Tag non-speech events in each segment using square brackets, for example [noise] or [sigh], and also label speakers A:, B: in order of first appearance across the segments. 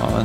A: Ja,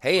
B: Hey,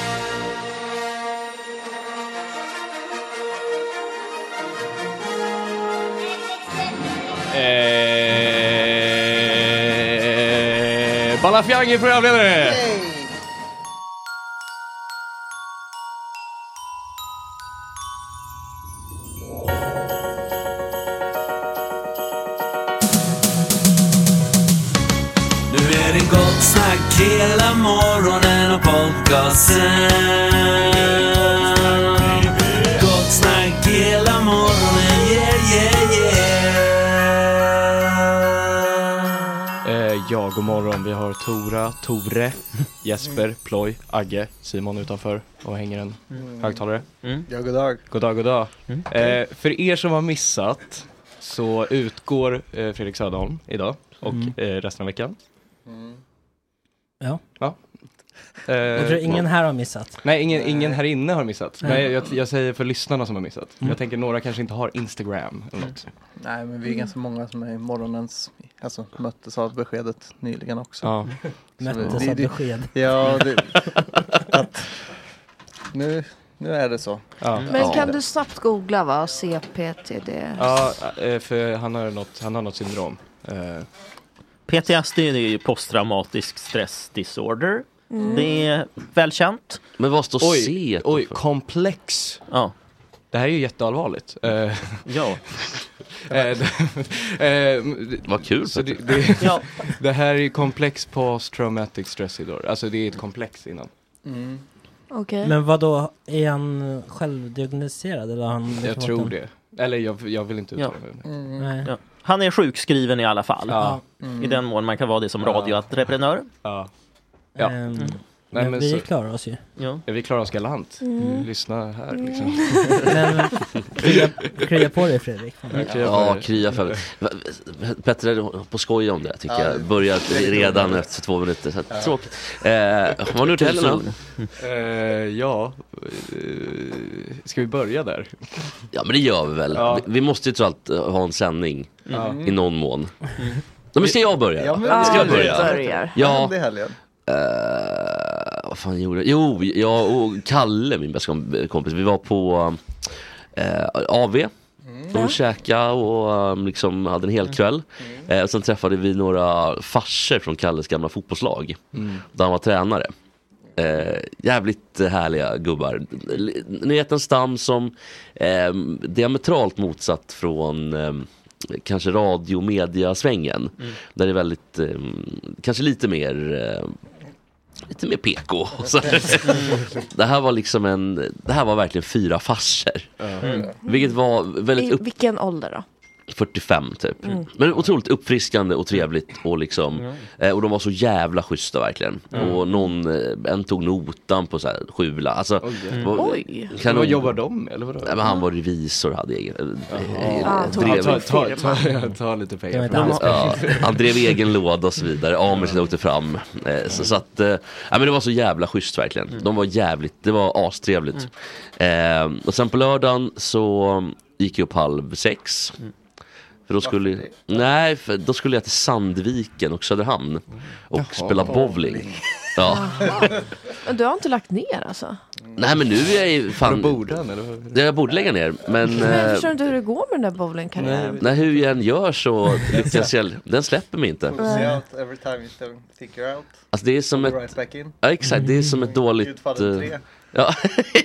C: Eh, Balafiangi programledare! Nu är det gott snack hela morgonen och podcasten. Gott snack hela morgonen, yeah yeah yeah. Jag och
D: Eh, God morgon, vi har Tora,
E: [laughs]
D: Tore, Jesper, Ploj, Agge, Simon utanför och hänger en
E: Mm.
D: högtalare.
F: Ja, god dag.
D: God dag, god dag. Eh, för er som har missat så utgår eh, Fredrik Söderholm idag och
E: Mm.
D: eh, resten av veckan.
E: Ja.
D: Ja. Eh,
E: Jag tror ingen här har missat.
D: Nej, ingen, ingen här inne har missat.
E: Nej.
D: Men jag, jag, jag säger för lyssnarna som har missat.
E: Mm.
D: Jag tänker några kanske inte har Instagram eller något.
F: Nej, men vi är ganska många som är i morgonens, alltså möttes av beskedet nyligen också.
D: Ja.
F: Så
E: Möttes
F: vi-
E: av besked.
F: Ja, det, att nu, nu är det så.
D: Ja.
G: Men kan du snabbt googla vad CPTD är?
D: Ja, eh, för han har något, han har något syndrom. Eh,
H: PTSD det är ju posttraumatisk stress disorder.
D: Mm.
H: Det är välkänt. Men vad
D: oj, Oj, komplex.
H: Ja.
D: Det här är ju jätteallvarligt. Eh. [laughs]
H: ja.
D: Vad kul. eh, Så det, det, [laughs] det här är ju komplex post-traumatic stress disorder. Alltså det är ett komplex innan.
G: Okej.
E: Men vad då är han självdiagnostiserad eller har han liksom
D: Jag
E: fått
D: tror
E: en-
D: det. Eller jag, jag vill inte uttala mig. om
E: Mm. Nej.
H: Ja. Han är sjukskriven i alla fall.
D: Ja.
H: I den mån man kan vara det som radioentreprenör.
D: [laughs] Ja.
E: Ja. Ehm, men vi klarar oss ju.
H: Ja.
D: det. Vi klarar oss galant.
E: Mm.
D: Lyssna här liksom.
E: Men krya, krya på dig Fredrik.
I: Ja, krya för mig. Petter är på skoj om det tycker
E: Ja,
I: jag. Börjat
E: det är
I: redan
E: roligt.
I: efter två minuter. Så att,
E: Ja.
I: Tråkigt. Eh, vad har ni gjort i helgen då?
H: Mm.
D: Eh, ja, eh, ska vi börja där?
I: Ja men det gör vi väl.
D: Ja.
I: Vi, vi måste ju trots allt eh, ha en sändning
D: Ja. Mm.
I: i någon mån. Ja, men ska jag börja?
D: Ja,
I: då?
D: men-
I: ska
D: Ja,
I: jag
D: du
I: börja?
D: börjar.
F: Vad
I: Ja.
F: hände i helgen?
I: Eh, vad fan gjorde jag? Jo, jag och Kalle, min bästa kom- kompis, vi var på eh, AV och käkade och eh, liksom hade en hel kväll. Eh, och sen träffade vi några farsor från Kalles gamla fotbollslag.
D: Mm.
I: Där han var tränare. Eh, jävligt härliga gubbar. L- Ni vet en stam som eh, diametralt motsatt från eh, kanske radio och mediasvängen.
J: Mm.
I: Där det är väldigt, eh, kanske lite mer eh, Lite mer PK. Och så. det här var liksom en, det här var verkligen fyra farser.
G: Mm.
I: Vilket var väldigt
G: I
I: upp,
G: vilken ålder då?
I: 45 typ.
G: Mm.
I: Men otroligt uppfriskande och trevligt och liksom
G: Mm.
I: eh, Och de var så jävla schyssta verkligen.
D: Mm.
I: Och någon, eh, en tog notan på så här sjula. Alltså, det var-
D: Oj.
I: kanon.
D: Vad jobbar de med, eller vadå?
I: Nej, men han var revisor, hade egen... eh,
D: Ah,
I: eh,
D: tog-
I: drev-
D: ta- ta- ta- ta lite pengar Det var inte från hans
I: Ja,
D: pengar.
I: Han drev egen låda och så vidare. Amundsen åkte fram. Eh, Så, så att, eh, ja, men det var så jävla schysst verkligen. De var jävligt, det var astrevligt. Eh, och sen på lördagen så gick jag upp halv sex. För då skulle, nej, för då skulle jag till Sandviken och Söderhamn och
G: Jaha.
I: spela bowling. Ja.
G: Men du har inte lagt ner alltså?
I: Nej men nu är jag ju fan...
D: Borde han eller? vad?
I: Jag borde lägga ner men...
G: Men jag
I: eh,
G: förstår inte hur det går med den där bowlingkarriären.
I: Nej, hur jag än gör
F: [laughs]
I: så lyckas jag, den släpper mig inte.
F: Pussy out every time you still stick her out.
I: Alltså det är som
F: Pull
I: ett,
F: her right back in.
I: ja exakt, det är som ett dåligt...
F: Gudfadern
I: eh,
F: tre.
I: ja. [laughs]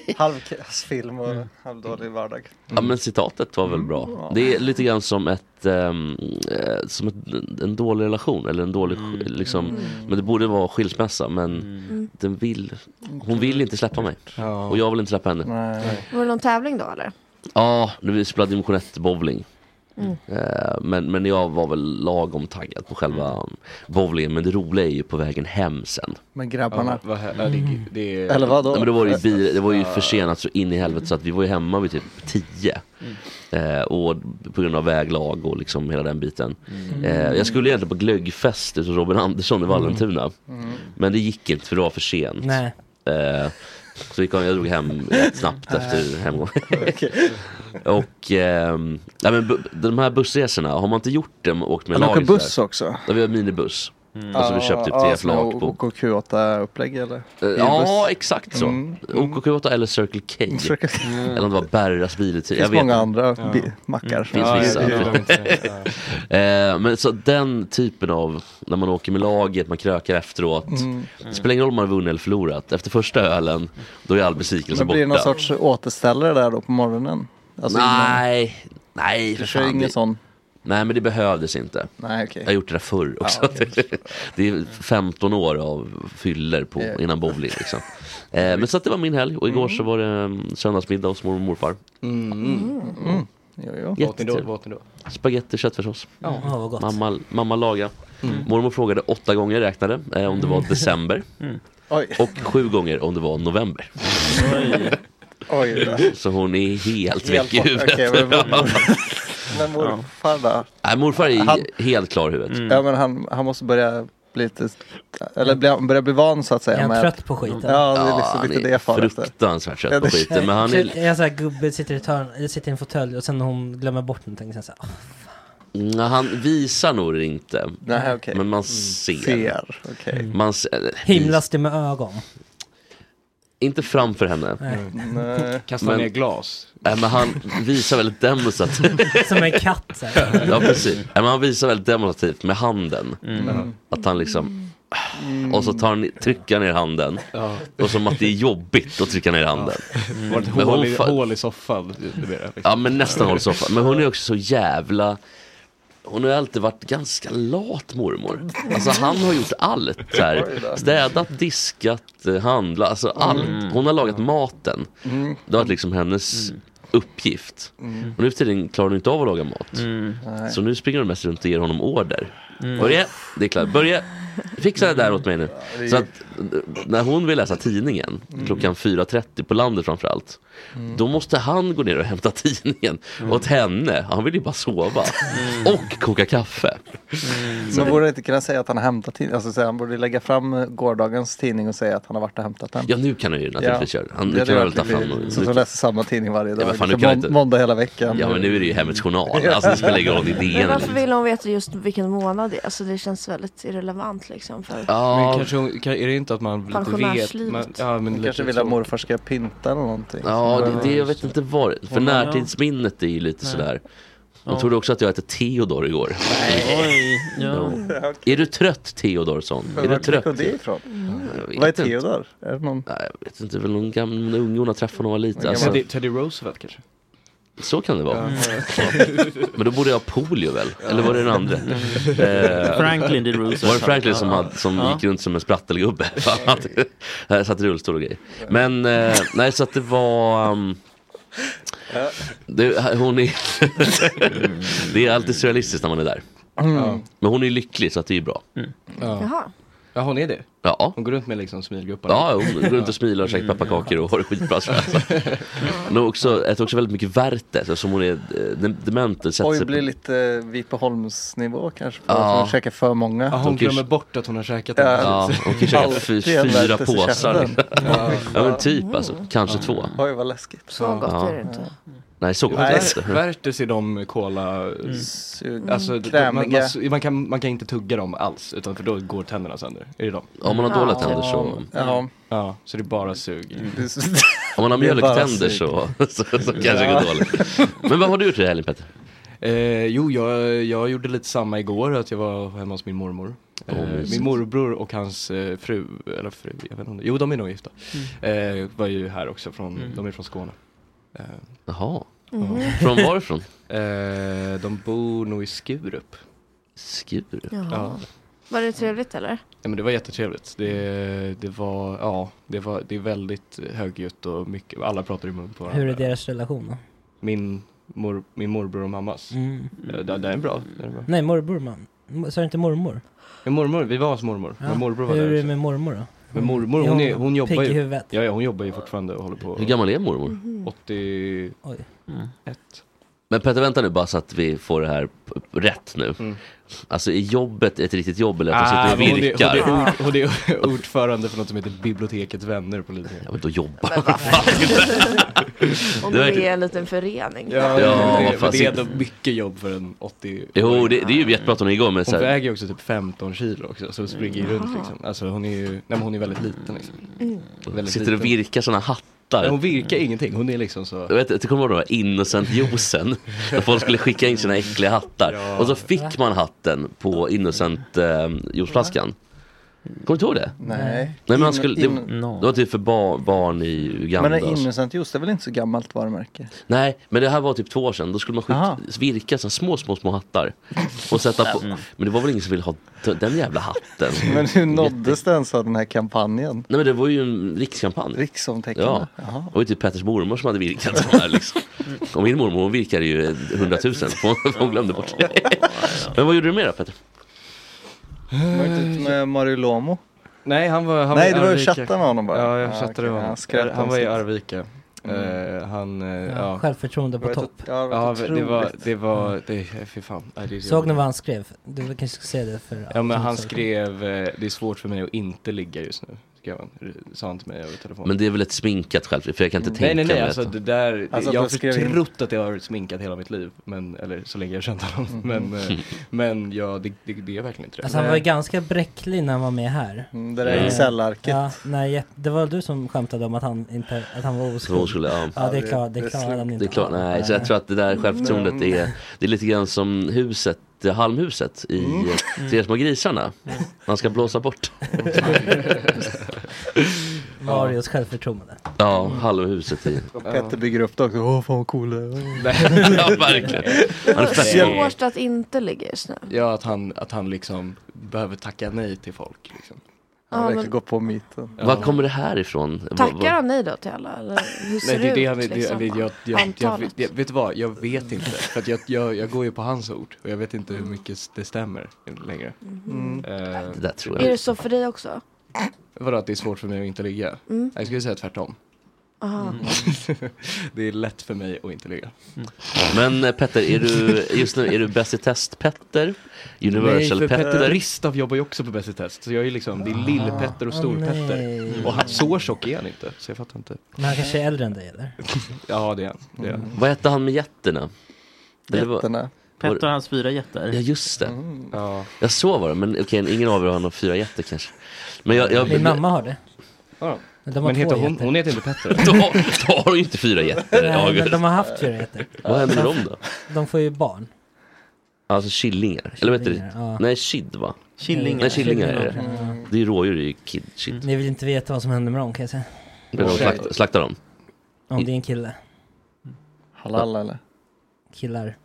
I: Mm.
F: Halvkass film och halvdålig vardag. Mm.
I: ja men citatet var väl bra. Det är lite grann som ett, ehm, eh, som ett, en dålig relation eller en dålig,
F: Mm.
I: sk- liksom,
G: Mm.
I: men det borde vara skilsmässa men den vill, hon vill inte släppa mig. Och jag vill inte släppa henne.
G: Var det någon tävling då eller?
I: Ja, nu vi spelade dimension 1 bowling.
G: Mm.
I: Eh, Men, men jag var väl lagom taggad på själva bowlingen. Men det roliga är ju på vägen hem sen. Mm.
F: Med grabbarna.
D: Ja, vad här- ja, det- det är-
F: Eller vadå?
I: Nej, men det var ju, bil, det var ju
F: Ja.
I: försenat så in i helvete så att vi var ju hemma vid typ 10. Eh, och på grund av väglag och liksom hela den biten.
J: Mm.
I: Eh, jag skulle egentligen på glöggfest hos Robin Andersson i Vallentuna.
J: Mm.
I: Men det gick inte för det var för sent.
E: Nej.
I: Eh, så vi kom, jag drog hem rätt snabbt efter hemgången. och ehm, nej, men bu- de här bussresorna, har man inte gjort dem och åkt med
F: Man åker
I: laget så här-
F: buss också?
I: Ja, vi har minibuss. Alltså vi köpte upp TF Lak på.
F: OKQ8-upplägg eller?
I: Eh, Ja, exakt så.
F: Mm.
I: OKQ8 eller Circle K.
F: Circle K.
I: Eller om det var Berras biluthyrning.
F: Det
I: Jag
F: finns
I: vet
F: många
I: inte.
F: andra bi- mackar.
I: Det finns vissa. Eh, Men så den typen av, när man åker med laget, man krökar efteråt.
F: Mm.
I: Det spelar ingen roll om man har vunnit eller förlorat. Efter första ölen, då är all besvikelse liksom
F: Men
I: borta.
F: blir det någon sorts återställare där då på morgonen? Alltså
I: nej, nej för
F: Du kör
I: fan,
F: ingen
I: det-
F: sån?
I: Nej men det behövdes inte.
F: Nej, okej.
I: Jag har gjort det där förr också.
F: Ja, okej.
I: det är 15 år av fyller på
F: Ja.
I: innan bowling liksom. Eh, men så att det var min helg och igår så var det mm, söndagsmiddag hos mormor och morfar.
F: Mm. Jo, jo.
D: Vad åt ni då? Vad åt ni då?
I: Spagetti och köttfärssås.
D: Ja. Ja, vad gott.
I: Mamma, mamma laga. Mormor frågade åtta gånger, räknade, eh, om det var december.
F: Mm. Oj.
I: Och sju gånger om det var november.
F: Oj då.
I: Så hon är helt,
F: Helt
I: väck i
F: bort.
I: huvudet. [laughs]
F: Okej, men mor- men
I: Ja.
F: morfar då?
I: Nej, morfar är
F: Han-
I: helt klar i huvudet.
F: Ja men han, han måste börja bli lite, eller bli, börja bli van så att säga.
E: Är han
F: med-
E: trött på skiten?
F: Ja, det är
I: Ja,
F: liksom
I: han
F: lite
I: är
F: det jag far efter.
I: fruktansvärt trött
F: Ja,
I: på
F: det-
I: skiten. Men han är...
E: Jag är såhär, gubben sitter i, ett hörn, eller sitter i en fåtölj och sen när hon glömmer bort någonting sen såhär,
I: Nej, han visar nog det inte.
E: Nej, okej.
I: Men man ser.
E: Ser, okej.
I: Man ser, eller,
E: himlas det med ögon?
I: Inte framför henne.
E: Nej.
D: Nej. Kastar ner glas.
I: Nej, men han visar väldigt demonstrativt.
E: Som en katt så här.
I: ja, precis. Nej, men han visar väldigt demonstrativt med handen.
E: Mm.
I: Att han liksom... Och så tar han, trycker han ner handen.
D: Ja.
I: Och som att det är jobbigt att trycka ner handen.
F: Mm.
D: Det var ett
I: Men hon
D: hål, i,
I: fa-
D: hål i soffan. Det- det blir det, liksom.
I: Ja men nästan håller soffan. Men hon är också så jävla hon har ju alltid varit ganska lat mormor. Alltså han har gjort allt. Så här. Städat, diskat, eh, handlat. Alltså allt. Hon har lagat maten.
F: Mm.
I: Det har varit liksom hennes uppgift.
F: Mm.
I: Och nu för tiden klarar hon inte av att laga mat.
F: Mm. Nej.
I: Så nu springer hon mest runt och ger honom order.
F: Mm.
I: Börje, det är klart. Börje, fixa det där åt mig nu.
F: det är-
I: Så att eh, när hon vill läsa tidningen
F: Mm.
I: klockan 4.30 på landet framförallt.
F: Mm.
I: Då måste han gå ner och hämta tidningen åt henne. Han vill ju bara sova. Och koka kaffe. Så
F: Men
I: det-
F: borde han inte kunna säga att han har hämtat tidningen? Alltså säga, han borde [laughs] lägga fram eh, gårdagens tidning och säga att han har varit och hämtat den.
I: Ja nu kan han ju naturligtvis göra det. Han, nu
F: Det
I: kan
F: hade
I: han väl ta
F: varit
I: fram
F: lite-
I: och-
F: Så att
I: nu-
F: de läser samma tidning varje
I: Ja,
F: dag.
I: men fan, nu
F: liksom
I: kan jag
F: mån-
I: inte-
F: Måndag hela veckan.
I: Ja men nu är det ju Hemmets Journal. Alltså det spelar ingen roll, det är
G: Men
I: DN.
G: varför vill hon veta just vilken månad det är? Alltså det känns väldigt irrelevant liksom. För...
D: Men kanske, hon- kan- är det inte att man lite vet?
G: Pensionärslivet.
D: Man, ja, men
F: Han
D: lite
F: kanske vill att
D: så.
F: morfar ska pinta eller någonting.
I: Ja,
F: Så-
I: det, det, jag vet inte vad det- För
F: Ja.
I: närtidsminnet är ju lite
F: Nej.
I: sådär. Hon
F: Ja.
I: trodde också att jag hette Theodor igår. [laughs]
F: Nej.
H: Oj, ja.
I: Jo. Är du trött Theodorsson?
F: Men
I: Är du
F: vart fick
I: trött?
F: hon det ifrån?
I: Jag vet
F: Vad är
I: inte.
F: Theodor? Är det någon?
I: Nej, jag vet inte, väl någon gammal någon unge hon har träffat när hon var liten.
D: Gammal-
I: Alltså,
D: Teddy, Teddy Roosevelt kanske?
I: så kan det vara.
D: Ja.
I: Ja. Men då borde jag ha polio väl? Eller var det den
D: [laughs]
I: andra? Eh,
H: Franklin D. Roosevelt.
I: Var det Franklin som,
H: Ja.
I: hade, som
H: Ja.
I: gick runt som en sprattelgubbe? Fan, han satt i rullstol och grejer. Men eh, nej, så att det var... um, det, hon är... det är alltid surrealistiskt när man är där.
D: Mm. Ja.
I: Men hon är lycklig så att det är ju bra.
D: Ja.
G: Jaha.
D: Ja, hon är det?
I: Ja.
D: Hon går runt med liksom smilgropparna?
I: Ja, hon går runt och smilar och käkar pepparkakor och har det skitbra. så här. Hon har också, äter också väldigt mycket värte eftersom hon är eh, dem- dement. och sätter sig
F: Oj,
I: på-
F: blir lite Vipeholmsnivå kanske. På
I: Ja.
F: att hon käkar för många.
D: Ja, hon
I: De kan ju-
D: glömmer bort att hon har käkat
F: Ja.
D: den.
I: Ja, hon kan köpa fy,
F: Alltid
I: fyra
F: värte sig
I: påsar.
F: käften.
I: Ja.
F: Ja.
I: men typ alltså, kanske två.
F: Oj, vad läskigt.
G: Så gott
I: Ja.
G: är det inte.
I: Nej, så gott är
D: Nej.
I: det inte.
D: Värtes i de kola...
F: Sug-
D: Alltså, d-
F: Mm. Krämiga.
D: man, man, man, kan, man kan inte tugga dem alls, utan för då går tänderna sönder. Är det dem?
I: Om man har dåliga Ja. tänder så-
F: Ja. Mm,
D: Ja, så det är bara sug.
I: Om man har
D: Det är bara
I: mjölktänder
D: sug.
I: så, så, så kanske det går dåligt. Men vad har du gjort i helgen Petter?
D: Eh, jo, jag, jag gjorde lite samma igår, att jag var hemma hos min mormor.
I: Åh,
D: Eh,
I: mysigt.
D: min morbror och hans eh, fru, eller fru, jag vet inte, jo de är nog gifta. Eh, var ju här också, från, de är från Skåne. Eh,
I: Jaha.
G: Mhm.
I: Från varifrån?
D: eh, de bor nog i Skurup.
I: Skurup?
G: Jaha.
D: Ja.
G: Var det trevligt eller?
D: Ja, men det var jättetrevligt. Det, det var, ja, det var, det är väldigt högljutt och mycket, alla pratar i mun på varandra.
E: Hur är deras relation då?
D: Min, mor, min morbror och mammas.
E: Mm.
D: Eh, Den, den är bra. Den är bra.
E: Nej, morbror man. M- Sa du inte mormor?
D: Min mormor, vi var hos mormor.
E: Ja.
D: Min morbror var
E: Hur
D: där
E: är det
D: också.
E: med mormor då? Mm.
D: Men mormor, hon, är, hon jobbar
E: Pigg i
D: ju.
E: huvudet.
D: Ja, ja, hon jobbar ju fortfarande och håller på.
I: Hur gammal är mormor?
D: 80...
E: Oj.
D: Ett.
I: Men Petter vänta nu bara så att vi får det här p- rätt nu. Alltså är jobbet ett riktigt jobb eller att de
D: Ah,
I: sitter
D: men
I: och
D: hon, är,
I: virkar?
D: hon, är, ord- hon är ordförande för något som heter Bibliotekets vänner på Lidingö.
I: Ja men då jobbar
G: Men vad Om det
I: Det var-
G: är en liten förening.
D: Ja,
I: Ja,
D: men det, men
I: fast
D: det är
I: inte-
D: ändå mycket jobb för en 80
I: Jo det, det är ju jättebra att hon är igång men
D: Hon
I: så här,
D: väger ju också typ 15 kilo också, så hon springer ju runt liksom. Alltså hon är ju, nej men hon är väldigt liten liksom.
F: Mm.
D: Väldigt
I: sitter och virkar sådana hattar.
D: Nej, Hon virkar ingenting, hon är liksom så.
I: Jag, vet, jag kommer ihåg de här
D: [laughs]
I: Innocent-josen. När folk skulle skicka in sina äckliga hattar.
D: Ja.
I: Och så fick man hatten på Innocent-juiceflaskan. Kommer du inte ihåg det?
F: Nej.
I: Nej men man
F: In-
I: skulle, det,
F: in-
I: det var typ för bar, barn i Uganda.
F: Men en
I: och så.
F: Innocent juice, det är väl inte så gammalt varumärke?
I: Nej, men det här var typ två år sedan. Då skulle man skicka, virka så här små, små, små hattar. Och sätta på. Men det var väl ingen som ville ha t- den jävla hatten.
F: Men hur nåddes det ens av den här kampanjen?
I: Nej men det var ju en rikskampanj.
F: Riksomtäckande?
I: Ja,
F: Jaha.
I: det var ju typ Petters mormor som hade virkat de här liksom. Och min mormor hon virkade ju hundratusen, hon, hon glömde bort det. Men vad gjorde du mer då Petter?
F: Var det inte med Mario Lomo?
D: Nej, han var, han
F: Nej,
D: var i
F: du var ju
D: Arvika.
F: chatta med honom bara.
D: Ja, jag
F: Ja,
D: chattade
F: okej.
D: med honom.
F: Han skröt
D: han
F: om
D: var i
F: sitt.
D: Arvika.
F: Mm.
D: Eh, han, eh, ja,
E: Ja, självförtroende på
F: Det var ett-
E: topp.
F: ja, det var
D: Ja,
F: ett
D: det var,
F: otroligt.
D: det var, det, fy fan. Nej, det är-
E: Såg ni vad han skrev? Du kanske ska säga det för
D: Ja men han
E: som-
D: skrev, eh, det är svårt för mig att inte ligga just nu. Skrev han, sa han till mig över telefon.
I: Men det är väl ett sminkat själv, för jag kan inte tänka
D: nej nej nej,
I: mig
D: alltså
I: att-
D: det där,
F: Mm. Alltså,
D: jag
F: att
D: har
F: jag skrev in-
D: trott att jag har varit sminkad hela mitt liv. Men, eller så länge jag känt honom.
F: Mm.
D: Men,
I: [laughs]
D: eh, men ja, det, det, det är verkligen inte det.
E: Alltså han var ju ganska bräcklig när han var med här. Eh,
F: Mm, det där Excel-arket.
E: Ja, nej, jä- det var du som skämtade om att han, inte, att han var oskuld.
I: Som hon skulle, ja.
E: ja det är klart, det klarade han inte.
I: Det är klart, nej. Så jag tror att det där självförtroendet
E: Mm.
I: är, det är lite grann som huset, eh, halmhuset i
E: Mm.
I: eh, Tre små grisarna. Man ska blåsa bort.
E: [laughs] Marios självförtroende.
I: Ja, halmhuset i.
F: Och Petter bygger upp det också. Åh fan vad cool det är.
I: ja, verkligen.
G: Det
D: Han är
G: var
D: fett-
G: svårt att inte ligga just nu.
D: Ja, att han, att han liksom behöver tacka nej till folk. Liksom.
G: Ja, Han verkar men-
F: gå på myten.
I: Var kommer det här ifrån?
G: Tackar han nej då till alla? Eller hur ser
D: Nej, det är det han
G: ut?
D: det,
G: liksom?
D: jag, jag, jag, jag,
G: Antalet.
D: jag, Vet du vad, jag vet inte. För att jag, jag, jag går ju på hans ord och jag vet inte hur mycket det stämmer längre.
G: Mhm.
D: Eh,
I: Det där tror
G: Är det så för dig också?
D: Vadå att det är svårt för mig att inte ligga?
G: Mm.
D: Jag skulle säga tvärtom.
G: Aha.
D: det är lätt för mig att inte ligga.
F: Mm.
I: Men eh, Petter, är du, just nu, är du bäst i test Petter? Universal
D: nej, för
I: Petter?
D: Petter Ristav jobbar ju också på Bäst i test. Så jag är ju liksom, det är Lill-Petter och
F: Ah,
E: Åh,
D: Stor-Petter.
E: nej.
D: och han, så tjock är han inte, så jag fattar inte.
E: Men han kanske är äldre än dig eller?
D: Ja, det är han. Det är han.
I: Mm. Vad hette han med jätterna? vad-
F: Jätterna.
I: var-
H: Petter och hans fyra jättar.
I: Ja just det.
D: Ja.
I: Jag så var det, men okej ingen av er har någon fyra jätter kanske. Men jag, jag,
E: Min mamma har det.
D: Ja.
E: Men de har två
D: heter hon,
E: jätter.
D: hon heter inte Petter.
I: Då, då har du ju inte fyra jätter
E: Nej,
I: August.
E: men de har haft fyra jätter.
I: Vad händer med
E: De-
I: dem då?
E: De får ju barn.
I: Alltså killingar, eller vad heter det?
E: Killingar, ja.
I: Nej, kid va?
E: Killingar.
I: Nej, killingar är det.
E: Killingar, ja.
I: Det är ju rådjur, det är ju kid, kid.
E: Ni vill inte veta vad som händer med dem kan jag säga.
I: Men de slaktar, slaktar dem.
E: Om det är en kille.
F: Halal eller?
E: Killar.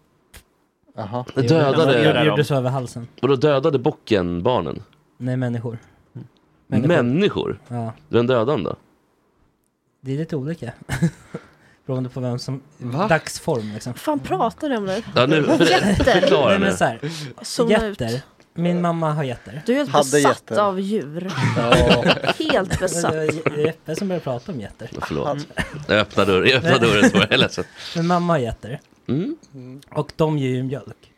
F: Jaha.
E: Jag gjorde-
I: Dödade...
E: Jag gjorde så över halsen.
I: Vadå, dödade bocken barnen?
E: Nej, människor.
I: Människor?
E: Ja.
I: Vem dödade han då?
E: Det är lite olika. [laughs] Beroende på vem som... Dagsform liksom.
G: fan pratar du om nu?
I: Ja, nu- för- förklara
E: Nej, men
I: nu.
E: så här.
G: Zooma ut.
E: Jätter. Min mamma har jätter.
G: Du är helt besatt av djur. helt besatt.
E: Alltså, Det var Jeppe som började prata om jätter.
I: Ja, Förlåt. Jag öppnar dörren, jag öppnar dörren så var jag ledsen.
E: Men mamma har jätter.
I: Mm.
E: Och de ger ju mjölk.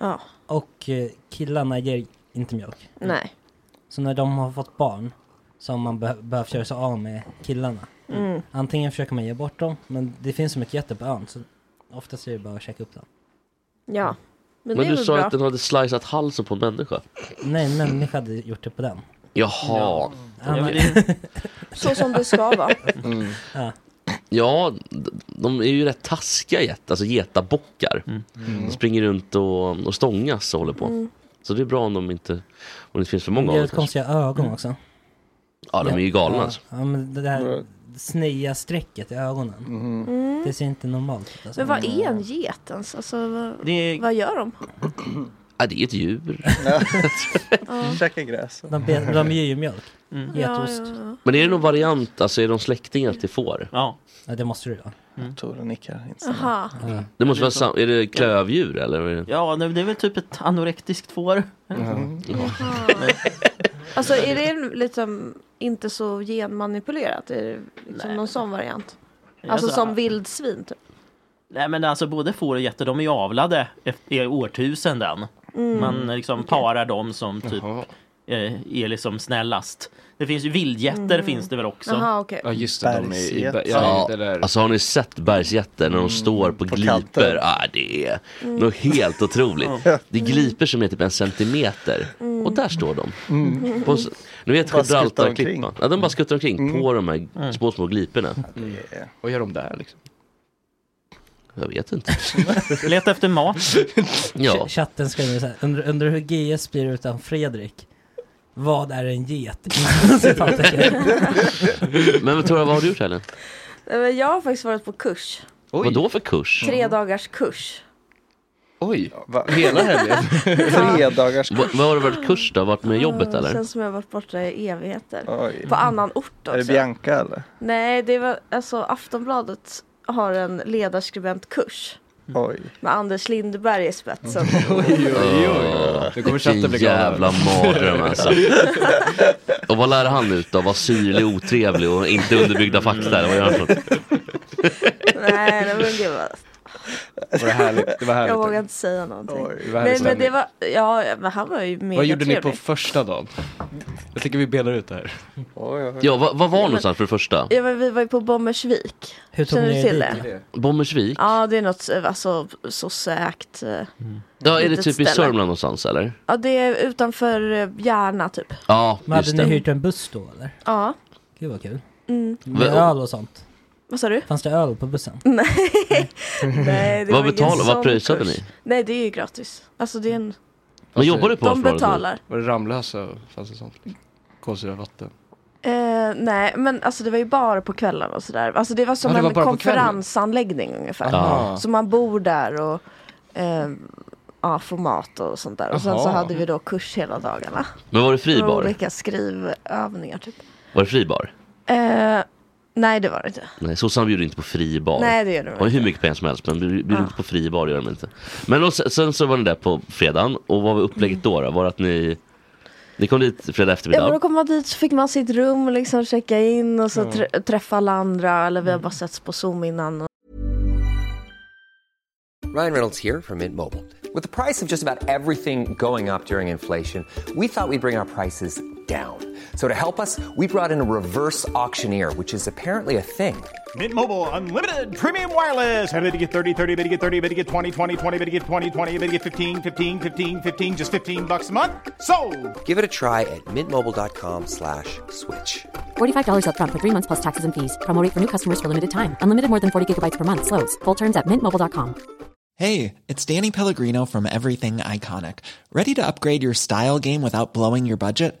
G: Ja.
E: Och eh, killarna ger inte mjölk.
G: Nej.
E: Så när de har fått barn så har man be- behövt göra sig av med killarna.
G: Mm.
E: Antingen försöker man ge bort dem, men det finns så mycket jätter på ön så oftast är det bara att käka upp dem.
G: Ja. Men,
I: Men,
G: det är
I: du
G: väl
I: sa
G: bra.
I: att den hade slicat halsen på en människa.
E: Nej, en människa hade gjort det på den.
I: Jaha.
E: Ja, men det-
G: Så som det ska vara.
I: Mm.
E: Ja.
I: Ja, d- de är ju rätt taskiga get, alltså getabockar. De springer runt och, och stångas och håller på.
E: Mm.
I: Så det är bra om de inte, om det inte finns för
E: Det
I: många
E: är
I: av dem.
E: lite konstiga ögon också.
I: Ja, de är ju galna alltså.
E: Ja, men det där snea strecket i ögonen.
G: Mm.
E: Det ser inte normalt ut. Alltså.
G: Men
I: Mm.
G: vad är en get ens? Alltså, vad,
E: Det-
G: vad gör de?
I: Ja, det är ett djur.
F: Käka gräs.
E: De,
I: [laughs]
E: be- de ger ju mjölk. Getost.
G: Mm. Ja, ja,
I: Men är det någon variant, alltså är de släktingar till får?
H: Ja.
E: ja, det måste du göra.
F: Mm. Tore nickar.
G: ja. Aha.
I: Det måste vara, sam- är det klövdjur eller? vad är det?
H: Ja, det det är väl typ ett anorektiskt får.
G: Jaha. Alltså är det liksom inte så genmanipulerat? Är det liksom någon sån variant? Alltså
H: Alltså,
G: som vildsvin typ?
H: Nej men alltså både får och getter de är ju avlade efter- i årtusenden.
G: Mm.
H: Man liksom parar dem som typ eh, är liksom snällast. Det finns ju vildgetter
G: Mhm.
H: finns det väl också.
G: Jaha, okej.
D: Ja, just det, de är i- i- Bergsget. ja,
I: Ja,
D: det där.
I: alltså har ni sett bergsjätten när de står på, gliper?
D: kanten.
I: Ah, det är
G: Mm.
I: något helt otroligt.
H: Ja.
I: Det är gliper som är typ en centimeter.
H: Mm.
I: Och där står de.
H: Mm.
I: På, s- ni vet
D: Bara skuttar
I: Gibraltarklippan?
D: omkring.
I: Ja, de bara skuttar omkring
D: Mm.
I: på de här
D: Mm.
I: små, små gliporna.
D: Vad gör de där liksom?
I: Jag vet inte.
H: Leta efter mat.
I: Ja.
E: Ch- Chatten skriver så här, under, under hur GS blir utan Fredrik. Vad är en get? [laughs] Citattecken.
I: Men Tora, vad har du gjort Helen?
G: Nej, men Eh, Jag har faktiskt varit på kurs.
I: Vad då för kurs?
G: Tre dagars kurs.
I: Oj,
F: hela helgen?
I: Tre dagars kurs. Vad har det varit kurs då? Varit med jobbet
G: Det
I: eller?
G: känns som jag har varit borta i evigheter.
F: Oj.
G: På annan ort också.
F: Är det Bianca eller?
G: Nej, det var alltså Aftonbladet har en ledarskribentkurs.
F: Oj.
G: Med Anders Lindberg i spetsen.
D: oj, oj, oj. Nu kommer chatten bli galen.
I: jävla mardröm alltså. Och vad lär han ut då? Var syrlig, otrevlig och inte underbyggda fakta? eller Vad gör han för något?
G: Nej, det var gud vad...
D: Det var härligt. Det var härligt.
G: Jag vågar inte säga någonting.
D: det var härlig
G: Nej, men
D: stämning.
G: det var, ja, men han var ju mega
D: Vad gjorde ni
G: trevlig.
D: på första dagen? Jag tycker vi benar ut det här.
I: Ja, vad, vad var någonstans för det första?
G: Ja, men vi var ju på Bommersvik.
I: Hur tog
G: Känner
I: ni
G: du till
I: er dit?
G: det?
I: Bommersvik?
G: Ja, det är något eh, alltså, sosseägt. eh,
I: Ja, är det
G: litet
I: typ i
G: ställe.
I: Sörmland någonstans eller?
G: Ja, det är utanför eh, Järna typ.
I: Ja,
E: Men hade
I: just
E: ni
I: det.
E: hyrt en buss då eller?
G: Ja.
E: Gud vad kul.
G: Mm.
E: Med
I: Va-
E: öl och sånt.
G: Vad sa du?
E: Fanns det öl på bussen?
G: Nej, det var
I: Vad
G: ingen
I: betal- vad
G: sån
I: pröjsade
G: kurs.
I: ni?
G: Nej, det är ju gratis. Alltså det är en...
I: Men jobbar du på
G: De
I: Aftonbladet nu?
G: betalar.
D: Var det Ramlösa? Fanns det sånt? Kolsyrat vatten?
G: Eh, nej, men alltså det var ju bara på kvällen och sådär. Alltså det var som
D: Ja, det var
G: en
D: bara på
G: konferensanläggning ungefär.
D: Aha.
G: Så man bor där och eh, ja, får mat och sånt där. Och sen så
I: Aha.
G: hade vi då kurs hela dagarna.
I: Men var det fri
G: Det var
I: bar?
G: Olika skrivövningar typ.
I: Var det fri bar?
G: Eh, nej, det var det inte.
I: Nej, sossarna bjuder inte på fri bar.
G: Nej, det gör de
I: de inte. hur mycket pengar som helst, men bjud- bjuder
G: Ah.
I: inte på fri bar gör de inte. Men och sen, sen så var ni där på fredagen, och vad var upplägget då? då? Var det att ni, ni kom dit fredag
G: Mm. Ja, men då
I: eftermiddag?
G: kom man dit så fick man sitt rum och liksom checka in och så
I: Ja.
G: trä- träffa alla andra. Eller vi har bara setts på Zoom innan. Och...
K: Ryan Reynolds here from Mint Mobile. With the price of just about everything going up during inflation, we thought we'd bring our prices down. So to help us, we brought in a reverse auctioneer, which is apparently a thing.
J: Mint Mobile unlimited premium wireless. Ready to get 30, 30, bet you get 30, bet you get 20, 20, 20, bet you get 20, 20, bet you get 15, 15, 15, 15, just 15 bucks a month. So,
K: Give it a try at mintmobile.com slash switch.
L: $45 upfront for three months plus taxes and fees. Promo rate for new customers for limited time. Unlimited more than 40 gigabytes per month. Slows. Full terms at mintmobile.com.
M: Hey, it's Danny Pellegrino from Everything Iconic. Ready to upgrade your style game without blowing your budget?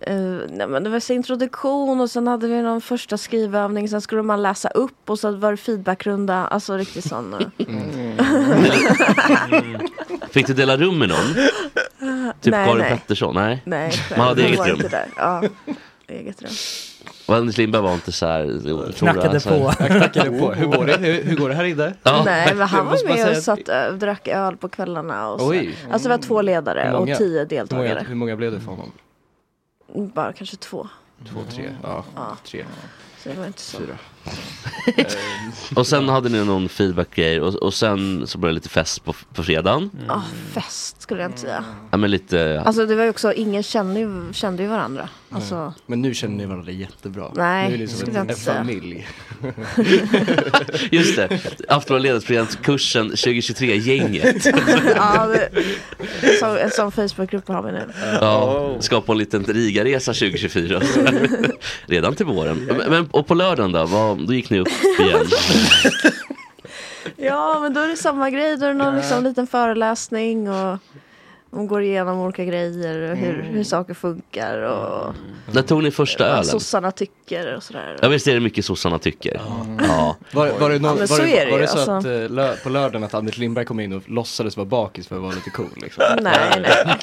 G: eh, nej, men det var så introduktion och sen hade vi någon första skrivövning. Sen skulle man läsa upp och så var det feedbackrunda. Alltså riktigt sån... eh.
I: Fick du dela rum
G: [laughs]
I: med någon? Typ
G: Nej,
I: Karin
G: nej.
I: Pettersson? Nej.
G: Nej, själv.
I: Man hade
G: Jag
I: eget
G: var
I: rum.
G: inte där. Ja, eget rum.
I: Och Anders Lindberg var inte så här... jo,
D: Knackade
I: så här-
D: på. Jag knackade på. Hur går det? Hur- hur går det här inne?
I: Ja.
G: Nej, men han
D: Jag måste
G: var
D: bara
G: med och
D: säga-
G: satt, eh, drack öl på kvällarna. Och så.
D: Oj.
G: Alltså det var två
D: Hur
G: ledare och
D: många-
G: tio
D: Hur många,
G: deltagare.
D: hur många blev det för honom?
G: Bara kanske två.
D: Två, tre? Ja,
G: Ja.
D: tre.
G: Så det var inte så.
D: Fyra.
I: Och sen hade ni någon feedback-grej och, och sen så blev det lite fest på, på fredagen.
G: Ja, fest skulle jag inte säga.
I: Ja, men lite...
G: Alltså det var ju också, ingen kände ju, kände ju varandra. Alltså,
D: Men nu känner ni varandra jättebra.
G: Nej,
D: nu är ni
G: det skulle
D: som
G: jag
D: en,
G: inte
D: en
G: säga.
D: familj.
I: Just det, Aftonbladet kursen 2023-gänget.
G: ja, det, som, en sån Facebookgrupp har vi nu.
I: Ja, skapa en liten
G: [laughs]
I: Rigaresa 2024. Redan till våren. Men- Men, och på lördagen då, vad, då gick ni upp igen.
G: Ja, men då är det samma grej. Då är det någon liksom, liten föreläsning och man går igenom olika grejer och hur,
D: Mm.
G: hur saker funkar och
I: När tog ni första
G: vad
I: ölen?
G: sossarna tycker och sådär.
I: Ja visst är det mycket sossarna tycker. Ja.
D: Var, var det,
G: Ja,
D: någon,
G: men
D: var
G: så är
D: det,
G: det
D: var
G: ju,
D: det så att
G: alltså.
D: eh, lö, på lördagen att Anders Lindberg kom in och låtsades vara bakis för att vara lite cool? Liksom.
G: Nej, nej.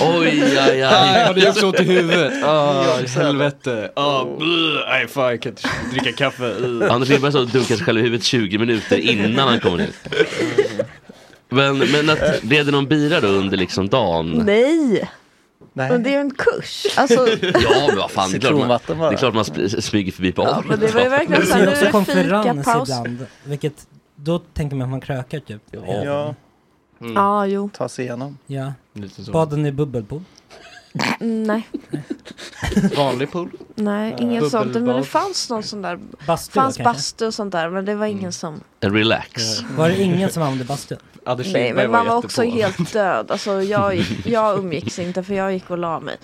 I: Oj, aj, aj.
D: Aj, vad det gör så ont i huvudet. Ah, helvete. Ah, bluh. Nej, fan jag kan inte dricka kaffe. Uh.
I: Anders Lindberg så dunkar sig själv i huvudet 20 minuter innan han kommer ut. Men, men att, blev det någon bira då under liksom dagen?
G: Nej!
F: Nej.
G: Men det är ju en kurs.
D: [laughs]
G: Alltså,
I: Ja men vad fan, det är klart
F: Citronvatten
I: man,
F: bara.
I: det är klart man sp- smyger förbi på
G: Ja,
I: Arlanda.
G: men det var ju verkligen så här, nu är det fikapaus.
E: ibland, vilket då tänker man att man krökar typ.
F: Ja.
G: Mm. Ja, jo.
F: Ta sig igenom.
E: Ja.
D: Lite så.
E: Baden i bubbelpool.
G: Mm, Nej,
D: Vanlig pool?
G: nej
D: Eh,
G: ingen sånt. Men det
D: bubbelbad.
G: fanns någon sån där.
E: Bastu
G: fanns
E: kanske?
G: bastu och sånt där. Men det var ingen som.
I: En relax.
E: Var det ingen som använde bastu?
G: Nej, men man var också helt död. Alltså jag, gick- jag umgicks inte för jag gick och la mig.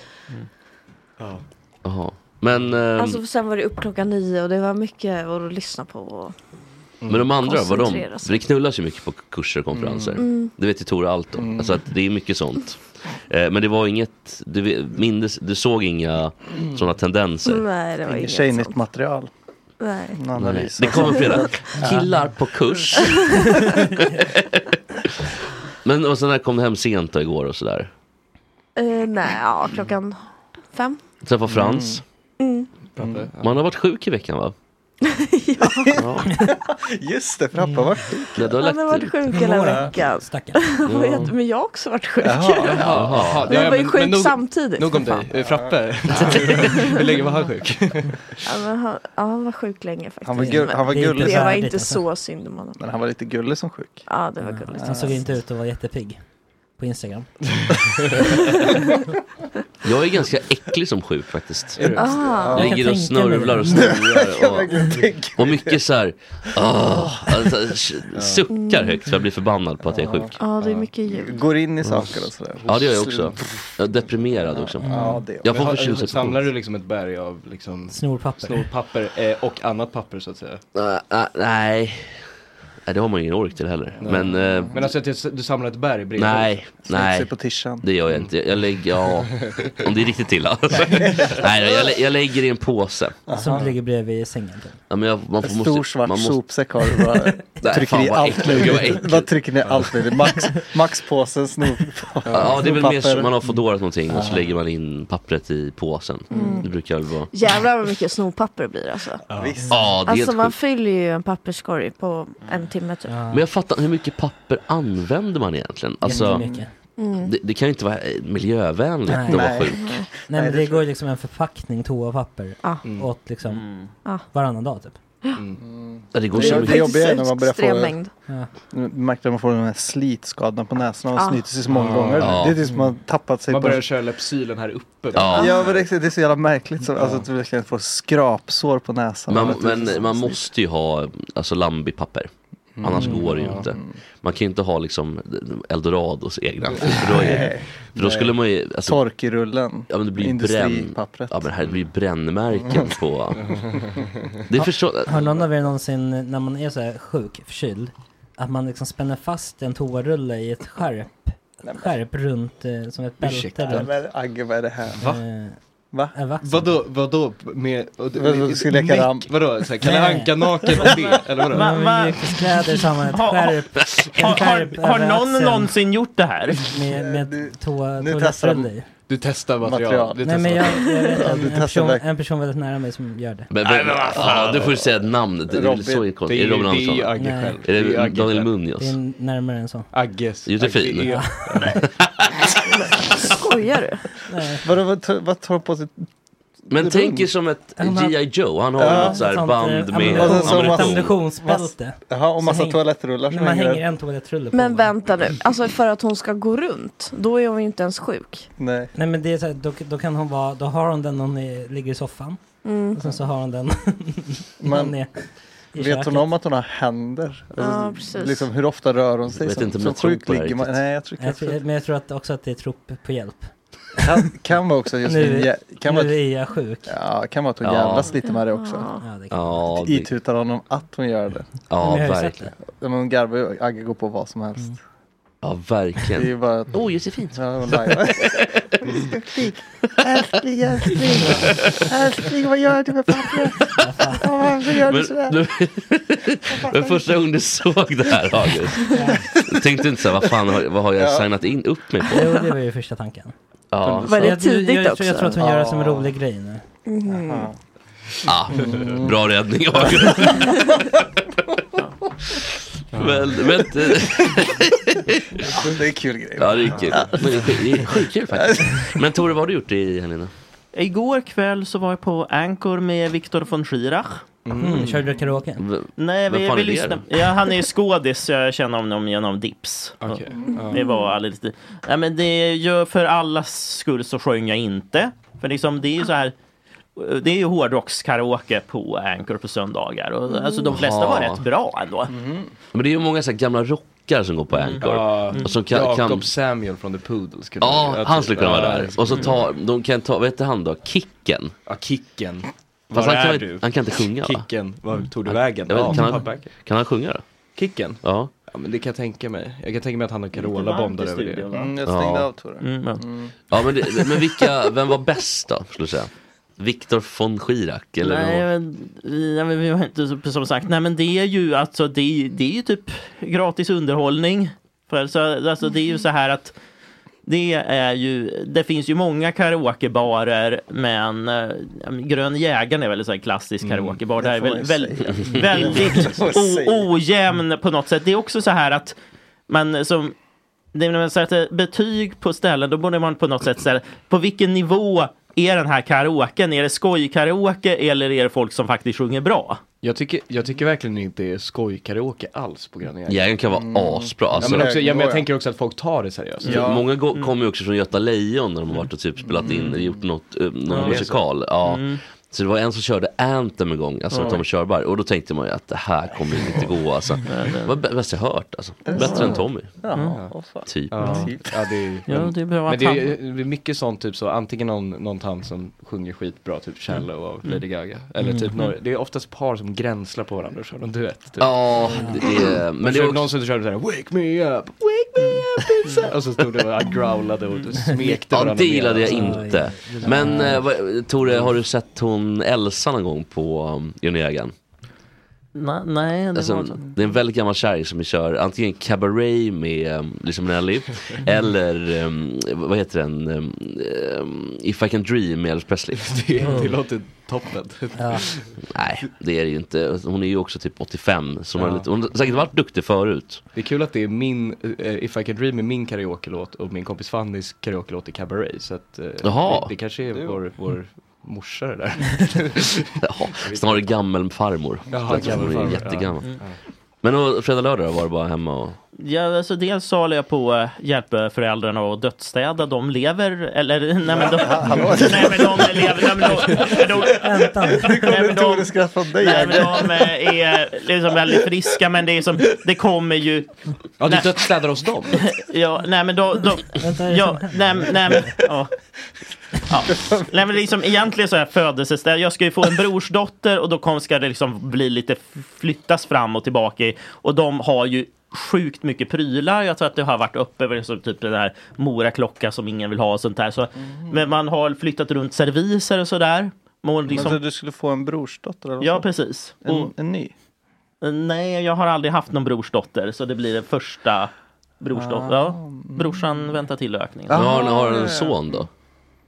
I: Jaha. Men, ehm,
G: Alltså sen var det upp klockan nio och det var mycket att lyssna på. Och...
I: men de andra, vad de?
G: koncentrera sig.
I: För det knullas ju mycket på kurser och konferenser.
G: Mm. Mm.
I: Det vet ju Tora allt om. Alltså att det är mycket sånt. Eh, men det var inget, du, vet- mindes, du såg inga sådana tendenser.
G: Nej, det var inget
F: Tjejnytt
G: sånt.
F: material.
G: Nej.
F: En analys.
I: Det kommer
F: Mm.
I: flera. Killar på kurs. men och sen här kom du hem sent då igår och sådär.
G: Eh, nej, ja, klockan fem.
I: Träffade Frans.
G: Mm.
I: Mm. Man har varit sjuk i veckan va?
F: Just det, för pappa var sjuk.
I: Nej, du har
G: Han har
I: lagt
G: varit
I: ut.
G: sjuk [laughs] hela
F: Några
G: veckan.
I: Ja.
G: Vet, men jag har också varit sjuk. [laughs]
D: Jaha.
G: Vi
D: Ja,
G: var ju
D: men-
G: sjuk
D: men nog-
G: samtidigt.
D: Nog om
G: för fan.
D: dig, Eh, Frappe. Hur länge var han sjuk?
G: Ja, men han, ja, han var sjuk länge faktiskt.
F: [laughs] Han var gu- han var
G: Men
F: gullig.
G: Det var
F: Värdigt,
G: inte
F: alltså.
G: så synd om honom.
F: Men han var lite gullig som sjuk.
G: Ja, det var gulligt.
E: Han såg inte ut att vara jättepigg. På Instagram.
I: Jag är ganska äcklig som sjuk faktiskt.
E: Är du? Ah.
I: Jag
E: Jag
I: ligger
E: kan
I: och
E: tänka mig
I: snörvlar
E: det. [laughs]
I: och
E: Jag kan verkligen
I: snurrar.
E: tänka
I: Och, och mycket så här, "Åh", alltså, s- suckar högt för jag blir förbannad på att jag är sjuk.
G: Ja, det är mycket ljud.
F: Går in i saker och sådär.
I: Ja det gör jag också. Jag är deprimerad också.
D: Ja, det-
I: Jag får
D: Men har-
I: förtjusningssjukdom.
D: Samlar du liksom ett berg av liksom
E: Snorpapper.
D: snorpapper eh, och annat papper så att säga?
I: Nej, nej, nej. Nej, det har man ju ingen ork till heller.
D: Nej.
I: Men, eh,
D: Men alltså att du- du samlar ett berg bredvid?
I: nej, nej. Det gör jag inte. Jag lägger, ja, om det är riktigt illa. [laughs] nej, jag, lä- jag lägger i en påse.
E: Som ligger bredvid sängen. typ.
I: Ja, men jag, man
F: En
I: får,
F: stor
I: måste,
F: svart
I: man måste,
F: sopsäck har du bara.
I: Nej,
F: trycker
I: fan,
F: i
I: vad
F: allt
I: äckligt, gud, vad
F: möjligt.
I: äckligt.
F: Bara trycker ner allt möjligt. Max, maxpåsen, snor.
I: Ja, det är väl mer
F: snorpapper.
I: så man har fördorat någonting och så
F: Ja.
I: lägger man in pappret i påsen.
G: Mm.
I: Det brukar väl vara.
G: Jävlar vad mycket snorpapper det blir alltså.
I: Ja, det är
G: alltså
I: helt
G: man
I: sjukt.
G: fyller ju en papperskorg på en timme typ.
I: Men jag fattar, hur mycket papper använder man egentligen? Alltså,
E: Jättemycket.
G: Mm.
I: det, det kan ju inte vara eh, miljövänligt att vara sjuk.
E: Nej, men det går ju liksom en förpackning toapapper åt liksom
F: Mm.
G: Ah.
E: varannan dag typ.
I: Ja, det
E: går
F: det,
E: så
F: det
E: mycket.
F: jobbiga är när man börjar
E: Extrem mängd.
F: få... Nu Märkte att man får de här slitskadorna på näsan och man
D: Ja.
F: snyter sig så många gånger.
D: Ja.
F: Det är tills man tappat sig
D: Man
F: på...
D: börjar köra Lypsylen här uppe.
F: Ja, ja men det, det är så jävla märkligt. Så, alltså, att du verkligen får skrapsår på näsan.
I: Man,
F: Vet du,
I: men
F: så-
I: man måste ju ha alltså, lambipapper.
F: Mm.
I: Annars går det ju
F: Ja.
I: inte. Man kan ju inte ha liksom Eldorados egna. För då, är,
F: Nej.
I: för då skulle man ju... Alltså,
F: Torkrullen.
I: Ja men det blir ju bränn,
F: Industripappret. Mm.
I: ja, men här, det blir ju brännmärken på...
F: [laughs]
I: Det förstår...
E: Har någon av er någonsin när man är så här sjuk, förkyld, att man liksom spänner fast en toarulle i ett skärp, skärp runt, eh, som ett bälte
D: Ursäkta.
E: runt? Eh,
F: Men Agge, vad är det här?
D: Va?
F: Va?
D: Vadå, vadå med... och-
F: Vadå, ska leka
D: Näck?
F: ramp?
D: Vadå, såhär Kalle
E: Nej.
D: Anka naken och det? Eller vadå?
E: Man har mjukiskläder samman, ett
D: Har-
E: skärp,
D: har-
E: en skärp
D: har- har
E: över
D: någon
E: axeln
D: någonsin
H: gjort det här?
E: Med, med toa,
D: Nu testar
E: toalettrulle i.
D: de- du testar material.
E: Nej
D: Du
E: men jag,
D: testar.
E: jag vet
D: Ja,
E: en,
D: du
E: en,
D: testar
E: person,
D: verkligen.
E: en person väldigt nära mig som gör det.
I: Men, men, ja, du får ju säga namnet. Det är väl
D: Robin.
I: så konstigt. Är
D: Det
I: det
D: är-
I: Robin
D: det är ju
I: Andersson?
D: Agge Nej. själv.
I: Är
D: Det är
I: det
D: Agge
I: Daniel
D: själv.
E: Det
I: Munoz?
E: är närmare än så.
D: Agges.
I: Josefin?
D: Agge är-
G: Skojar du?
F: Vadå, vad tar- vad tar de på sig?
I: Men tänk er som ett
F: Han har-
I: G.I. Joe. Han har
F: Ja.
I: något så här
F: Sånt,
I: band
F: eh,
I: med
F: ammunition. Och så- så-
I: ammunition.
E: Ammunitionsbälte.
F: Jaha, och
E: Så
F: massa
E: häng-
F: toalettrullar som
E: Man
F: hänger
E: hänger
F: där.
E: en toalettrulle på.
G: Men vänta nu, alltså för att hon ska gå runt, då är hon ju inte ens sjuk.
F: Nej.
E: Nej men det är så här, då, då kan hon vara, då har hon den när hon är, ligger i soffan.
G: Mm.
E: Och sen så har hon den [laughs] när
F: Men
E: hon är i
F: Vet
E: köket.
F: hon om att hon har händer?
G: Ja, precis.
F: liksom, hur ofta rör hon sig?
I: Jag vet
F: som
I: inte om
F: som
I: jag tror
F: sjuk
I: på det här
F: ligger man...
I: riktigt.
F: Nej, jag tror
E: jag tror,
F: kanske...
E: men jag tror att också att det är trop på hjälp.
F: Kan, kan vara också just...
E: Nu-
F: jä- kan
E: nu
F: vara-
E: är jag sjuk.
F: Ja, kan vara att hon
E: Ja.
F: jävlas lite med det också.
E: Ja, det typ-
I: Ja,
F: Att
I: det-
F: Itutar honom att hon gör det.
I: Ja, Men jag har ju verkligen.
F: Men hon garvar ju, Agge går på vad som helst.
H: Mm.
I: Ja,
F: Det är
I: verkligen.
F: ju bara...
I: Åh, oh, Josefin!
F: Ja, hon lajvar.
C: Älskling, älskling, älskling, vad gör du med pappret? Åh, Varför gör du
I: Men,
C: sådär?
I: men första gången du såg det här August, tänkte du inte såhär, vad fan har, vad har jag
E: Ja.
I: signat in, upp mig på?
E: Jo, det var ju
G: [laughs]
E: första tanken.
I: [laughs] Ja.
E: Så jag- jag, jag, tror- Jag tror att hon gör det som en
I: Ja.
E: rolig grej nu.
G: Mhm.
D: [laughs]
I: Ah, bra räddning August. Men, men,
F: Det är kul grej.
I: ja, det är kul. Men det är sk- Det är skitkul
F: [laughs]
I: faktiskt. Men Tore, vad har du gjort i helgen?
H: Igår kväll så var jag på Anchor med Viktor von Schirach.
E: Mm, körde du karaoke?
H: Nej,
E: Vem
H: vi,
E: fan
H: vi
E: är det
H: lyssnar.
E: då?
H: Ja, han är skådis, så jag känner honom genom Dips.
E: ja.
H: Det var alldeles... Ja, men det gör för allas skull så sjöng jag inte. För liksom, det är ju så här... Det är ju hårdrockskaraoke på Anchor på söndagar. Och, alltså, de flesta var
I: Jaha.
H: rätt bra ändå.
I: Men det är ju många så här gamla rockar som går på Anchor.
H: Mm.
I: Och som kan,
D: Mm. Jakob
I: kan...
D: Samuel från The Poodles. skulle
I: Ja,
D: jag
I: han
D: tro.
I: skulle kunna vara
D: Ja,
I: där.
D: det Mm.
I: Och så
D: skulle-
I: ta, de kan ta, vad heter han då? Kicken?
D: Ja, Kicken.
I: Fast
D: Var
I: han kan
D: är
I: väl-
D: du?
I: han kan inte sjunga, va?
D: Kicken, var tog du
I: Han-
D: vägen?
I: jag vet
D: Ja,
I: inte, kan
D: han,
I: han- Kan han sjunga då?
D: Kicken?
I: Ja.
D: Ja men det kan jag tänka mig. Jag kan tänka mig att han och
F: Lite
D: Carola
F: varmt i
D: bondar över det.
F: studion, va? Mm, jag stängde av, tror jag. Mm, ja. Mm.
I: Ja, men, det, men vilka, vem var bäst då, skulle du säga? Viktor von Schirach? Eller
H: nej,
I: någon-
H: men, vi- nej, men vi har inte, så- som sagt, nej men det är ju alltså, det, är- det är ju typ gratis underhållning. För, så, alltså, det är ju så här att det är ju, det finns ju många karaokebarer, men eh, ja, men Grön jägaren är väl en sån här klassisk karaokebar. Det här är
D: får
H: väl,
D: jag
H: väl,
D: säga. Det
H: väldigt
D: får jag säga.
H: o, ojämn på något sätt. Det är också så här att man som det är när man sätter betyg på ställen, då borde man på något sätt ställa på vilken nivå är den här karaoken? Är det skojkaraoke eller är det folk som faktiskt sjunger bra?
D: Jag tycker, jag tycker verkligen inte det är skojkaraoke alls på Gröna
I: Jägaren kan vara
F: Mm.
I: asbra.
D: Ja,
I: Alltså.
D: men, också, ja, men jag tänker också att folk tar det seriöst.
I: Typ, Många gå-
H: Mm.
I: kommer ju också från Göta Lejon när de har varit och typ spelat in eller gjort något, eh, någon
D: Ja, det är
I: musikal.
D: så.
I: Ja.
D: Mm.
I: Så det var en som körde Anthem en gång, alltså
D: Ja.
I: Tommy Körberg. Och då tänkte man ju att det här kommer ju inte gå alltså. Det var bä- bäst jag hört alltså. Bättre än Tommy.
F: Jaha, vad fan.
I: Typ.
D: Ja, ja, det är,
H: Ja, det er är bra
D: men
H: att
D: det är, det är mycket sånt, typ så antingen någon, någon tant som sjunger skitbra, typ Shallow av
I: Mm.
D: Lady Gaga. Eller typ
I: Mm.
D: några, det är oftast par som gränslar på varandra och kör någon duett. Typ.
I: Ja, det är-
D: men
I: men
D: det
I: det är också-
D: Någon som körde såhär Wake me up, wake me
I: Mm.
D: up inside. Och så stod det och growlade och smekte
I: Ja,
D: varandra.
I: det gillade jag
D: med-
I: inte. Men eh, vad- Tore, har du sett hon Elsa någon gång på um, Johnny Jägaren?
H: Nej, nej det
I: Alltså,
H: var
I: det är en väldigt gammal kärring som kör antingen cabaret med um, Liza
H: [laughs]
I: Minnelli eller um, vad heter den, um, um, If I Can Dream med Elvis Presley. Mm.
D: Det, det låter toppen.
I: Nej, det är det ju inte. Hon är ju också typ 85. Så hon,
D: Ja.
I: har lite, hon har säkert varit duktig förut.
D: Det är kul att det är min, eh, If I Can Dream är min karaoke-låt och min kompis Fannys karaoke-låt är Cabaret. Så att eh,
I: Jaha.
D: Det, det kanske är vår, vår morsa det där.
I: Ja, snarare gammelfarmor.
D: Jaha,
I: Plötsligt, hon är
D: gammelfarmor,
I: ju
D: ja.
I: jättegammal.
D: Mm.
I: Men och, fredag, lördag då var det bara hemma och...
H: Ja, alltså dels så håller jag på att hjälpa föräldrarna och dödsstäda. De lever, eller nej men de...
F: [laughs]
H: nej men de lever, nej men de... nej, de-
F: Nu kommer Tore skratt från dig.
H: Nej men de eh, är liksom väldigt friska men det är som, det kommer ju...
D: Ja, du
H: Nej.
D: dödsstädar hos dem?
H: ja, nej men då... då ja, nej, men- nej, men- ja. Ja. Nej men liksom egentligen så är födelseställ. Jag ska ju få en brorsdotter och då kom, ska det liksom bli lite flyttas fram och tillbaka. i- Och de har ju sjukt mycket prylar. Jag tror att det har varit uppe över liksom typ den här Mora-klocka som ingen vill ha och sånt där. Så, Men man har flyttat runt serviser och sådär. Man
F: Men
H: liksom-
F: så du skulle få en brorsdotter? eller vad
H: Ja,
F: fan?
H: precis. Eh,
F: En, en ny?
H: Nej, jag har aldrig haft någon brorsdotter, så det blir den första brorsdotter. Ja, brorsan väntar till ökningen.
I: Men har, har du en son då?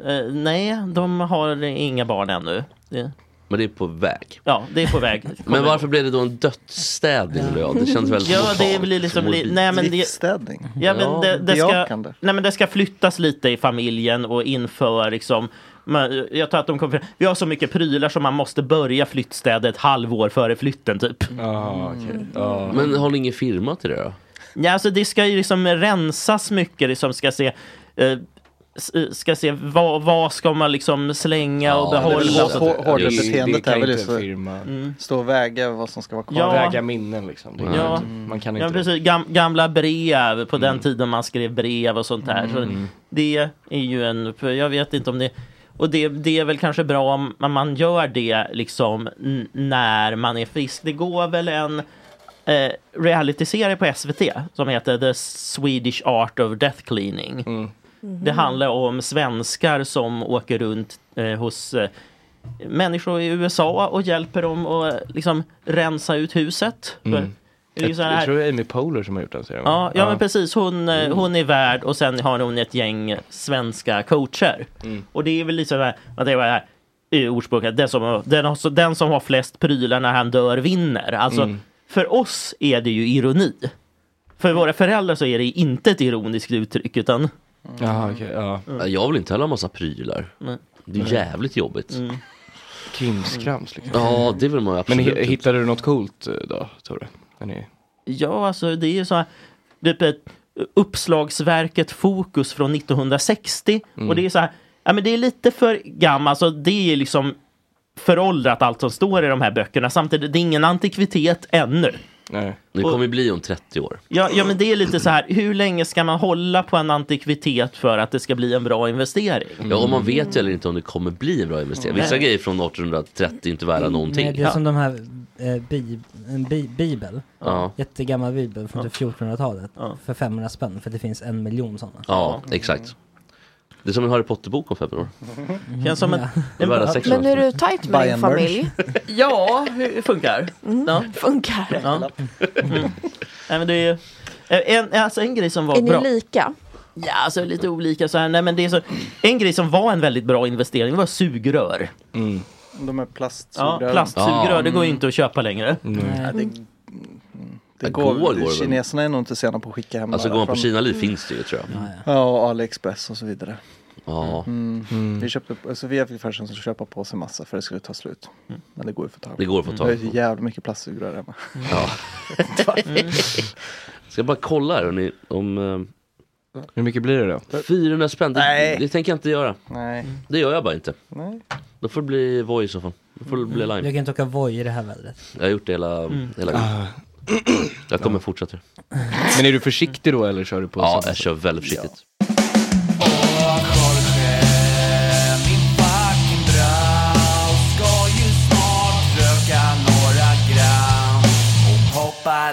H: Eh, nej, de har inga barn ännu. Det,
I: Men det är på väg.
H: ja, det är på väg.
I: Men varför blev det då en dödsstädning då? Det känns väldigt
H: Ja, det
I: lokalt,
H: blir liksom...
I: morbid.
H: Li, nej, men det,
F: Livsstädning.
H: Ja, men det, det, ska,
F: Bejakande.
H: nej, men det ska flyttas lite i familjen och inför liksom men jag tror att de kommer, vi har så mycket prylar som man måste börja flyttstädet ett halvår före flytten typ.
I: Men har ni ingen firma till det då?
H: Ja, alltså det ska ju liksom rensas mycket, liksom ska se eh, s- ska se vad, vad ska man liksom slänga och
F: det är väl
H: behålla.
F: hå- hå- hårda beteendet
D: kan
F: är väl
D: inte
F: just
D: firma-
F: mm. stå och väga vad som ska vara kvar.
H: Ja. Väga
D: minnen liksom. Det
H: Ja.
D: Man kan
H: Ja,
D: inte. Mm.
H: precis. Gam, gamla brev, på den tiden man skrev brev och sånt där. Så det är ju en, för jag vet inte om det, och det, det är väl kanske bra om om man gör det liksom n- när man är frisk. Det går väl en eh, realityserie på SVT som heter The Swedish Art of Death Cleaning.
D: Mm.
H: Det handlar om svenskar som åker runt eh, hos eh, människor i USA och hjälper dem att liksom rensa ut huset. För
D: Mm.
H: det är ju så
D: Jag
H: här,
D: tror det är Amy Poehler som har gjort den serien. va? Mm.
H: Ja, ja, men precis. Hon, eh, hon är värd och sen har hon ett gäng svenska coacher.
D: Mm.
H: Och det är väl lite så här, att det var det här i ordspråket, den som, den, har- den som har flest prylar när han dör vinner. Alltså,
D: Mm.
H: För oss är det ju ironi. För våra föräldrar så är det inte ett ironiskt uttryck utan
D: Ja, okej, ja.
I: Jag vill inte heller ha massa prylar.
H: Nej.
I: Det är
H: Nej.
I: jävligt jobbigt.
H: Mm.
D: Krimskrams liksom.
I: Ja, det vill man ju absolut
D: Men hi-
I: inte.
D: hittade du något coolt eh, då, Tore? När ni-
H: Ja, alltså det är ju så här, typ ett uppslagsverket Fokus från 1960.
D: Mm.
H: Och det är så här, ja men det är lite för gammalt, alltså det är liksom föråldrat allt som står i de här böckerna. Samtidigt, det är ingen antikvitet ännu.
I: Det kommer ju bli om 30 år.
H: Ja, ja, men det är lite så här, hur länge ska man hålla på en antikvitet för att det ska bli en bra investering?
I: Mm.
H: Eh,
I: Ja, och man vet ju heller inte om det kommer bli en bra investering. Vissa
H: Nej.
I: grejer från 1830 är inte värda någonting.
E: Nej, det är som de här eh, bi, en bi, bibel.
I: Ja.
E: Jättegammal bibel från
I: Ja.
E: typ 1400-talet. För 500 spänn, för det finns en miljon sådana.
I: Ja, exakt. Det är som en Harry Potter-bok om fem år.
H: Känns som en-
I: Det är värda sex
G: Men
I: år.
G: är du tajt med din familj?
H: Ja, hur funkar? Ja.
G: Funkar.
H: Ja. Mm. Nej, men det är ju, en, alltså en grej som var
G: Är
H: bra.
G: ni lika?
H: Ja, alltså lite olika så här. Nej, men det är så, en grej som var en väldigt bra investering var sugrör.
F: De är plastsugrör.
H: Ja, plastsugrör, det går ju inte att köpa längre.
F: Nej, det, det
H: Ja,
F: går,
H: går det väl.
F: Kineserna är nog inte sena på att skicka hem
I: Alltså
F: några
I: går man på
F: från-
I: Kina Liv finns det ju tror jag.
F: Ja, och Aliexpress och så vidare.
I: Ja.
F: Mm. Vi köpte, alltså vi fick farsan att köpa på sig massa för det skulle ta slut. Men det går ju att få tag på.
I: Det går att få tag
F: Jag har ju
I: på.
F: jävligt mycket plastsugrör hemma.
I: Ja. Ska jag bara kolla här hörni, om...
D: Hur mycket blir det
I: då? 400 spänn, det, det tänker jag inte göra.
F: Nej.
I: Det gör jag bara inte.
F: Nej.
I: Då får det bli Voi i så fall. Då får det bli
E: Mm. Jag
I: Lime.
E: kan inte åka Voi i det här vädret.
I: Jag har gjort det hela...
E: Mm.
I: hela
D: Ah.
I: Jag kommer fortsätta.
D: Men är du försiktig då eller kör du på?
I: Ja, jag kör väldigt försiktigt.
N: Hoppa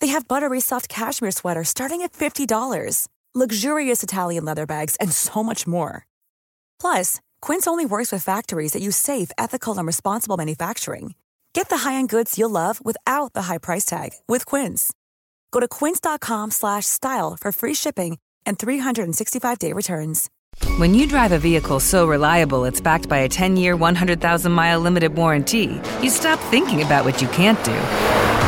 O: They have buttery soft cashmere sweaters starting at $50, luxurious Italian leather bags, and so much more. Plus, Quince only works with factories that use safe, ethical, and responsible manufacturing. Get the high-end goods you'll love without the high price tag with Quince. Go to quince.com/style slash style for free shipping and 365-day returns.
P: When you drive a vehicle so reliable it's backed by a 10 year, 100,000 mile limited warranty, you stop thinking about what you can't do